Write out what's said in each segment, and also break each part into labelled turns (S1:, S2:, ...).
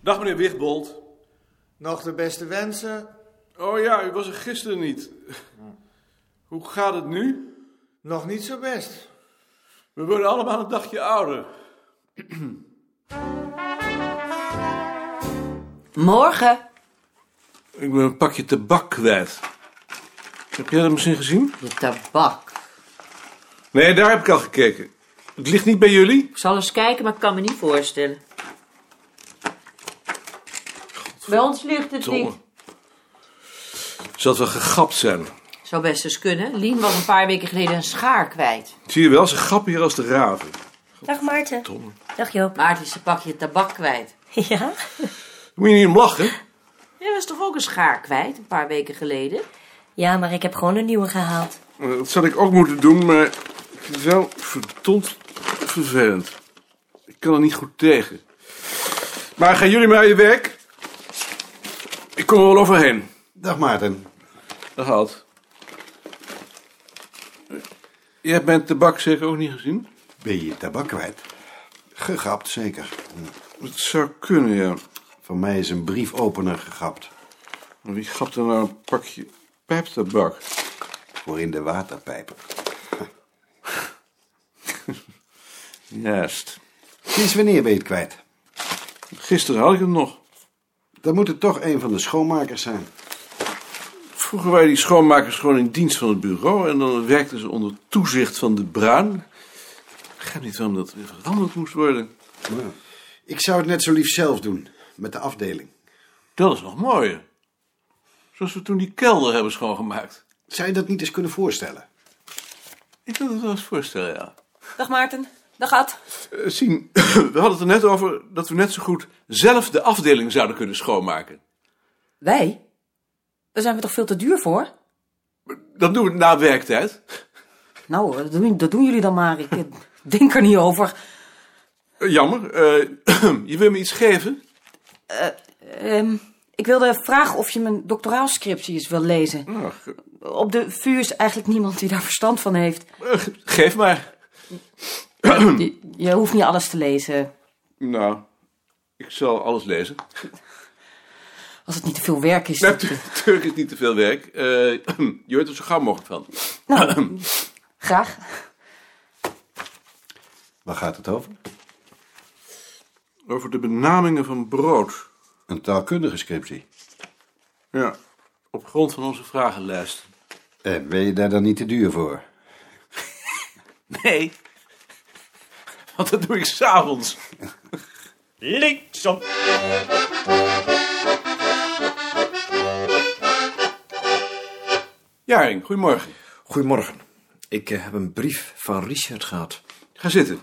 S1: Dag meneer Wigbold.
S2: Nog de beste wensen,
S1: Oh ja, u was er gisteren niet. Hoe gaat het nu?
S2: nog niet zo best.
S1: We worden allemaal een dagje ouder.
S3: Morgen.
S1: Ik ben een pakje tabak kwijt. Heb jij dat misschien gezien?
S3: Je tabak.
S1: Nee, daar heb ik al gekeken. Het ligt niet bij jullie?
S3: Ik zal eens kijken, maar ik kan me niet voorstellen. Bij ons ligt het niet.
S1: Zal het wel gegapt zijn?
S3: Zou best eens kunnen. Lien was een paar weken geleden een schaar kwijt.
S1: Zie je wel, ze grappen hier als de raven.
S4: Dag Maarten.
S1: Tom.
S4: Dag Joop.
S3: Maarten is een pakje tabak kwijt.
S4: Ja?
S1: Moet je niet om lachen?
S3: Jij was toch ook een schaar kwijt, een paar weken geleden?
S4: Ja, maar ik heb gewoon een nieuwe gehaald.
S1: Eh, Dat zou ik ook moeten doen, maar ik vind het wel verdomd vervelend. Ik kan er niet goed tegen. Maar gaan jullie maar aan je werk? Ik kom er wel overheen.
S5: Dag Maarten.
S1: Dat houdt. Je hebt mijn tabak zeker ook niet gezien?
S5: Ben je je tabak kwijt? Gegapt, zeker.
S1: Het zou kunnen, ja.
S5: Van mij is een briefopener gegapt.
S1: Maar wie gapt er nou een pakje pijptabak?
S5: Voor in de waterpijp.
S1: Juist.
S5: Sinds wanneer ben je het kwijt?
S1: Gisteren had ik hem nog.
S5: Dan moet het toch een van de schoonmakers zijn.
S1: Vroeger waren die schoonmakers gewoon in dienst van het bureau en dan werkten ze onder toezicht van de bruin. Ik begrijp niet waarom dat weer veranderd moest worden.
S5: Ik zou het net zo lief zelf doen. Met de afdeling.
S1: Dat is nog mooier. Zoals we toen die kelder hebben schoongemaakt.
S5: Zou je dat niet eens kunnen voorstellen?
S1: Ik kan het wel eens voorstellen, ja.
S6: Dag Maarten. Dag Ad.
S1: Eh, Sien, we hadden het er net over dat we net zo goed zelf de afdeling zouden kunnen schoonmaken.
S6: Wij? Daar zijn we toch veel te duur voor?
S1: Dat doen we na werktijd.
S6: Nou, dat doen, dat doen jullie dan maar. Ik eh, denk er niet over.
S1: Eh, Jammer. eh, je wil me iets geven?
S6: Ehm, ik wilde vragen of je mijn doctoraalscriptie eens wil lezen.
S1: Nou, ge-
S6: Op de VU is eigenlijk niemand die daar verstand van heeft.
S1: eh, geef maar.
S6: Je, je hoeft niet alles te lezen.
S1: Nou, ik zal alles lezen.
S6: Als het niet te veel werk is.
S1: Natuurlijk is niet te veel werk. Eh, je hoort er zo gauw mogelijk van.
S6: Nou, graag.
S5: Waar gaat het over?
S1: Over de benamingen van brood.
S5: Een taalkundige scriptie.
S1: Ja. Op grond van onze vragenlijst.
S5: En ben je daar dan niet te duur voor?
S1: Nee. Want dat doe ik s'avonds.
S7: Linksom.
S1: Jaring, goedemorgen.
S8: Goedemorgen. Ik eh, heb een brief van Richard gehad.
S1: Ga zitten.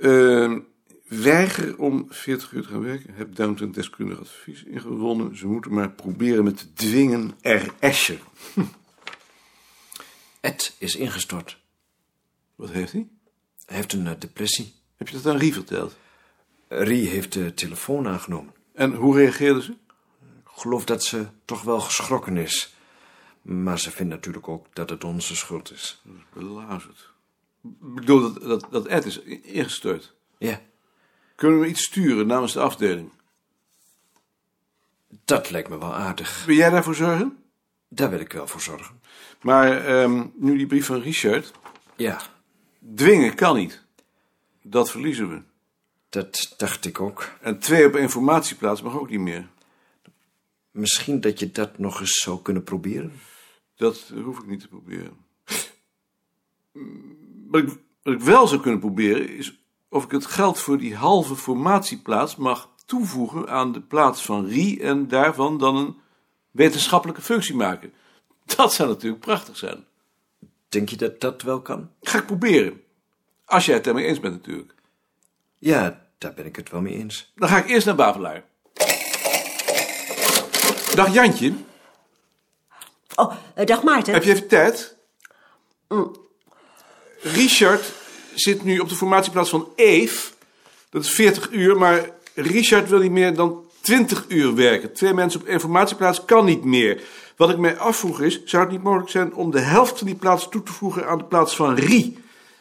S1: Ehm, weiger om 40 uur te gaan werken. Heb Downton deskundig advies ingewonnen. Ze moeten maar proberen met te dwingen er escher.
S8: Ed is ingestort.
S1: Wat heeft hij?
S8: Hij heeft een eh, depressie.
S1: Heb je dat aan Rie verteld?
S8: Rie heeft de telefoon aangenomen.
S1: En hoe reageerden ze?
S8: Ik geloof dat ze toch wel geschrokken is. Maar ze vindt natuurlijk ook dat het onze schuld is.
S1: Belazerd. Ik bedoel, dat, dat, dat Ed is i- ingestort.
S8: Ja,
S1: Kunnen we iets sturen namens de afdeling?
S8: dat lijkt me wel aardig.
S1: Wil jij daarvoor zorgen?
S8: Daar wil ik wel voor zorgen.
S1: Maar ehm, nu die brief van Richard.
S8: Ja,
S1: Dwingen kan niet. Dat verliezen we.
S8: dat dacht ik ook.
S1: En twee op informatieplaats mag ook niet meer.
S8: Misschien dat je dat nog eens zou kunnen proberen.
S1: Dat hoef ik niet te proberen. Mm, Wat ik, wat ik wel zou kunnen proberen is of ik het geld voor die halve formatieplaats mag toevoegen aan de plaats van Rie en daarvan dan een wetenschappelijke functie maken. Dat zou natuurlijk prachtig zijn.
S8: Denk je dat dat wel kan?
S1: Ga ik proberen. Als jij het daarmee eens bent natuurlijk.
S8: Ja, daar ben ik het wel mee eens.
S1: Dan ga ik eerst naar Bavelaar. Dag Jantje,
S4: Oh, eh, dag Maarten.
S1: heb je even tijd? Richard zit nu op de formatieplaats van Eve. Dat is 40 uur, maar Richard wil niet meer dan 20 uur werken. Twee mensen op één formatieplaats kan niet meer. Wat ik mij afvroeg is, zou het niet mogelijk zijn om de helft van die plaats toe te voegen aan de plaats van Rie?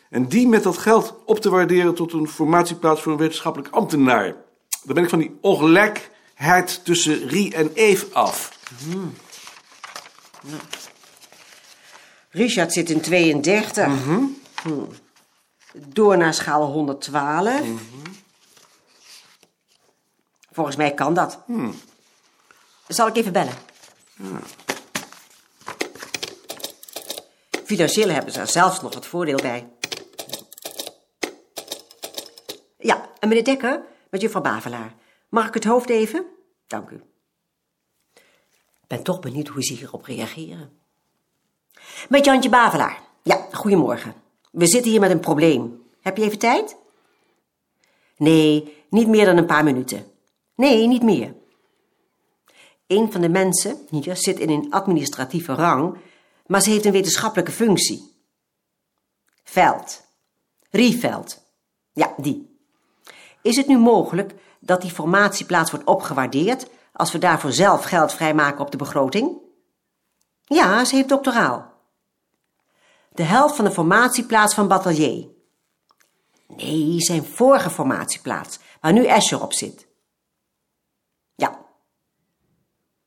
S1: En die met dat geld op te waarderen tot een formatieplaats voor een wetenschappelijk ambtenaar. Dan ben ik van die ongelijkheid tussen Rie en Eve af.
S9: Richard zit in 32.
S6: Mhm.
S9: Hm. Door naar schaal
S6: Hm.
S9: 112. Volgens mij kan dat.
S4: Zal ik even bellen?
S9: Financieel hebben ze er zelfs nog wat voordeel bij. Ja, en meneer Dekker, met juffrouw Bavelaar. Mag ik het hoofd even? Dank u. Ik ben toch benieuwd hoe ze hierop reageren. Met Jantje Bavelaar. Ja, goedemorgen. We zitten hier met een probleem. Heb je even tijd? Nee, niet meer dan een paar minuten. Nee, niet meer. Een van de mensen hier zit in een administratieve rang, maar ze heeft een wetenschappelijke functie. Veld. Rieveld. Ja, die. Is het nu mogelijk dat die formatieplaats wordt opgewaardeerd als we daarvoor zelf geld vrijmaken op de begroting? Ja, ze heeft doctoraal. De helft van de formatieplaats van Batelier. Nee, zijn vorige formatieplaats, waar nu Escher op zit. Ja,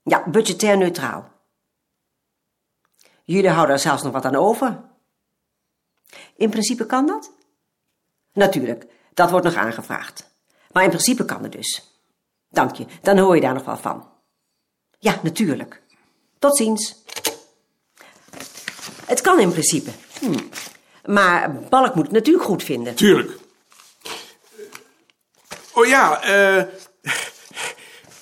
S9: ja, budgetair neutraal. Jullie houden er zelfs nog wat aan over. In principe kan dat? Natuurlijk, dat wordt nog aangevraagd. Maar in principe kan het dus. Dank je, dan hoor je daar nog wel van. Ja, natuurlijk. Tot ziens. Het kan in principe. Hm. Maar Balk moet het natuurlijk goed vinden.
S1: Tuurlijk. Oh ja, eh,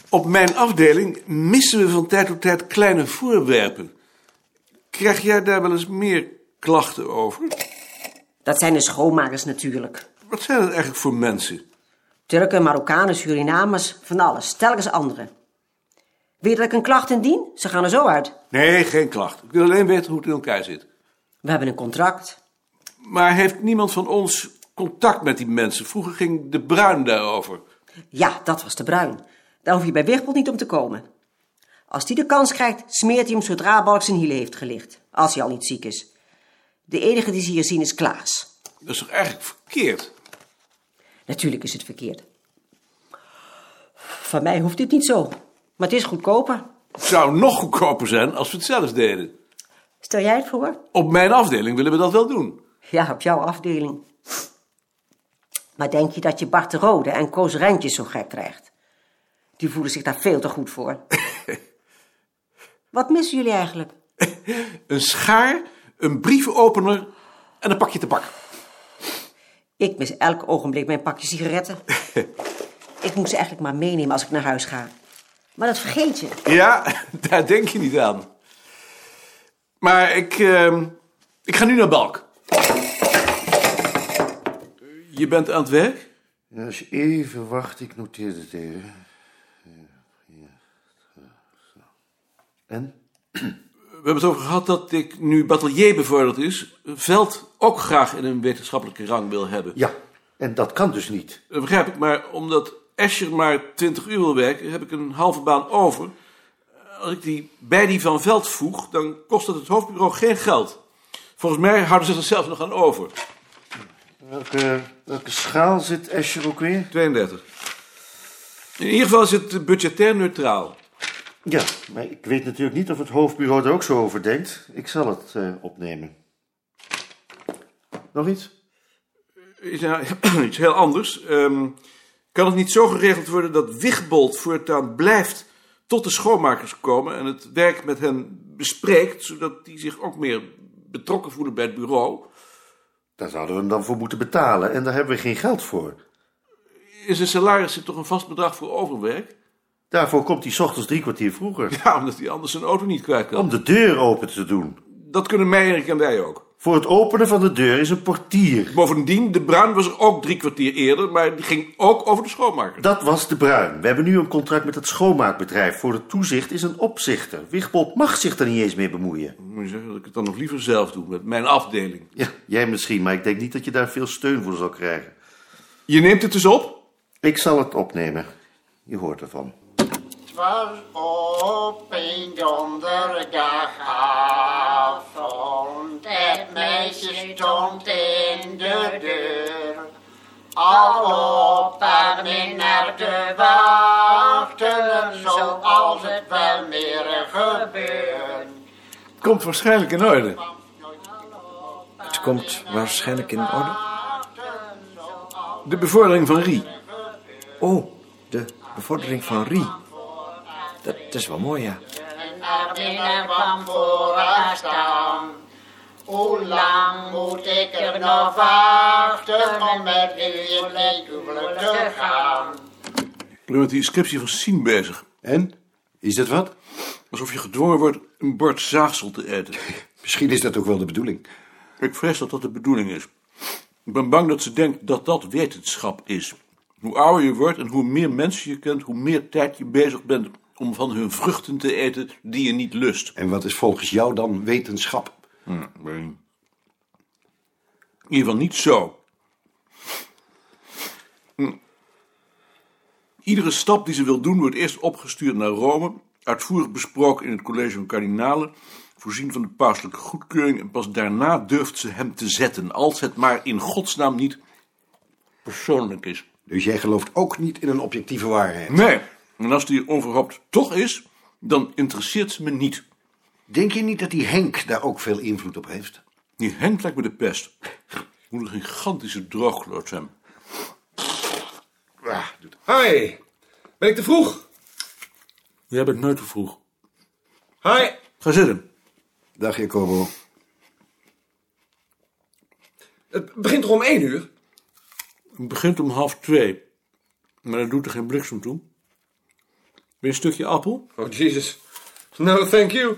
S1: op mijn afdeling missen we van tijd tot tijd kleine voorwerpen. Krijg jij daar wel eens meer klachten over?
S9: Dat zijn de schoonmakers natuurlijk.
S1: Wat zijn dat eigenlijk voor mensen?
S9: Turken, Marokkanen, Surinamers, van alles. Telkens anderen. Weet dat ik een klacht indien? Ze gaan er zo uit.
S1: Nee, geen klacht. Ik wil alleen weten hoe het in elkaar zit.
S9: We hebben een contract.
S1: Maar heeft niemand van ons contact met die mensen? Vroeger ging de Bruin daarover.
S9: Ja, dat was de bruin. Daar hoef je bij Wichbold niet om te komen. Als die de kans krijgt, smeert hij hem zodra Balk zijn hielen heeft gelicht. Als hij al niet ziek is. De enige die ze hier zien is Klaas.
S1: Dat is toch eigenlijk verkeerd?
S9: Natuurlijk is het verkeerd. Van mij hoeft dit niet zo. Maar het is goedkoper.
S1: Het zou nog goedkoper zijn als we het zelf deden.
S9: Stel jij het voor?
S1: Op mijn afdeling willen we dat wel doen.
S9: Ja, op jouw afdeling. Maar denk je dat je Bart de Rode en Koos Rentjes zo gek krijgt? Die voelen zich daar veel te goed voor. Wat missen jullie eigenlijk?
S1: Een schaar, een brievenopener en een pakje tabak.
S9: Ik mis elk ogenblik mijn pakje sigaretten. ik moet ze eigenlijk maar meenemen als ik naar huis ga. Maar dat vergeet je.
S1: Ja, daar denk je niet aan. Maar ik, ehm, ik ga nu naar Balk. Je bent aan het werk?
S10: Ja, als je even wacht, ik noteer het even. Ja, ja, zo, zo. En?
S1: We hebben het over gehad dat ik nu batelier bevorderd is... Veld ook graag in een wetenschappelijke rang wil hebben.
S10: Ja, en dat kan dus niet.
S1: Dat Eh, begrijp ik, maar omdat Escher maar 20 uur wil werken... heb ik een halve baan over. Eh, Als ik die bij die van Veld voeg, dan kost het het hoofdbureau geen geld. Volgens mij houden ze er zelfs nog aan over.
S10: Welke, welke schaal zit Escher ook weer?
S1: 32. In ieder geval is het budgetair neutraal.
S10: Ja, maar ik weet natuurlijk niet of het hoofdbureau er ook zo over denkt. Ik zal het eh, opnemen. Nog iets?
S1: Is nou iets heel anders. Ehm, kan het niet zo geregeld worden dat Wigbold voortaan blijft tot de schoonmakers komen en het werk met hen bespreekt, zodat die zich ook meer betrokken voelen bij het bureau?
S10: Daar zouden we hem dan voor moeten betalen en daar hebben we geen geld voor.
S1: Is een salaris er toch een vast bedrag voor overwerk?
S10: Daarvoor komt hij 's ochtends drie kwartier vroeger.
S1: Ja, omdat hij anders zijn auto niet kwijt kan.
S10: Om de deur open te doen.
S1: Dat kunnen Meijerik en wij ook.
S10: Voor het openen van de deur is een portier.
S1: Bovendien, de Bruin was er ook drie kwartier eerder, maar die ging ook over de schoonmakers.
S10: Dat was de Bruin. We hebben nu een contract met het schoonmaakbedrijf. Voor het toezicht is een opzichter. Wigbold mag zich er niet eens mee bemoeien.
S1: Moet je zeggen dat ik het dan nog liever zelf doe, met mijn afdeling.
S10: Ja, jij misschien, maar ik denk niet dat je daar veel steun voor zal krijgen.
S1: Je neemt het dus op?
S10: Ik zal het opnemen. Je hoort ervan.
S11: was opeens donderdagavond. Het meisje stond in de deur, al op haar staat niet naar te wachten, zoals het wel meer gebeurt.
S12: Het komt waarschijnlijk in orde.
S8: Het komt waarschijnlijk in orde.
S12: De bevordering van Rie.
S8: Oh, de bevordering van Rie. Dat is wel mooi, ja.
S11: En naar binnen kwam vooraan staan. Hoe lang moet ik er nog wachten om met u in mijn huwelijk te gaan?
S1: Ik ben met die inscriptie van Sien bezig.
S5: En? Is dat wat?
S1: Alsof je gedwongen wordt een bord zaagsel te eten.
S5: Misschien is dat ook wel de bedoeling.
S1: Ik vrees dat dat de bedoeling is. Ik ben bang dat ze denkt dat dat wetenschap is. Hoe ouder je wordt en hoe meer mensen je kent, hoe meer tijd je bezig bent om van hun vruchten te eten die je niet lust.
S5: En wat is volgens jou dan wetenschap?
S1: Hm, ik weet niet. In ieder geval niet zo. Hm. Iedere stap die ze wil doen wordt eerst opgestuurd naar Rome, uitvoerig besproken in het college van kardinalen, voorzien van de pauselijke goedkeuring en pas daarna durft ze hem te zetten, als het maar in godsnaam niet persoonlijk is.
S5: Dus jij gelooft ook niet in een objectieve waarheid?
S1: Nee, en als die onverhoopt toch is, dan interesseert ze me niet.
S5: Denk je niet dat die Henk daar ook veel invloed op heeft?
S1: Die Henk lijkt me de pest. Moet een gigantische drooglood zijn.
S13: Hi, ben ik te vroeg?
S1: Jij bent nooit te vroeg.
S13: Hi.
S1: Ga zitten.
S5: Dag Jacobo.
S13: Het begint toch om één uur?
S1: Het begint om half twee. Maar dat doet er geen bliksem toe. Wil je een stukje appel?
S13: Oh, Jesus. No, thank you.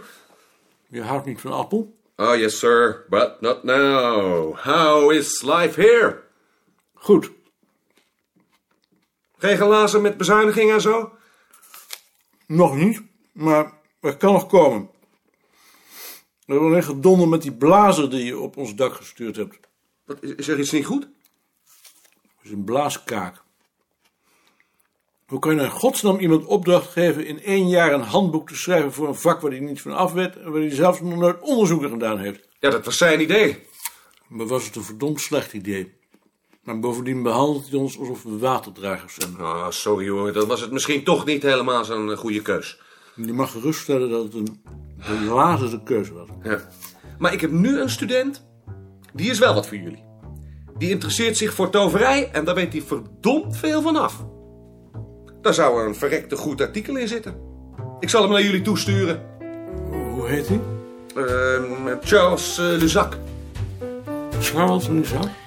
S1: Je houdt niet van appel?
S13: Oh, yes, sir, but not now. How is life here?
S1: Goed.
S13: Geen glazen met bezuinigingen en zo?
S1: Nog niet, maar het kan nog komen. We hebben alleen gedonder met die blazer die je op ons dak gestuurd hebt.
S13: Wat, is is er iets niet goed?
S1: Dat is een blaaskaak. Hoe kan je in godsnaam iemand opdracht geven in één jaar een handboek te schrijven voor een vak waar hij niet van af weet en waar hij zelfs nog nooit onderzoeken gedaan heeft?
S13: Ja, dat was zijn idee.
S1: Maar was het een verdomd slecht idee. Maar bovendien behandelt hij ons alsof we waterdragers zijn.
S13: Oh, sorry hoor, dat was het misschien toch niet helemaal zo'n eh, goede keus.
S1: Je mag geruststellen dat het een belazerde keuze was.
S13: Ja. Maar ik heb nu een student, die is wel wat voor jullie. Die interesseert zich voor toverij en daar weet hij verdomd veel van af. Daar zou een verrekte goed artikel in zitten. Ik zal hem naar jullie toesturen.
S1: Hoe heet hij?
S8: Euh,
S13: Ehm, Charles eh, Luzac.
S1: Charles Nuzak?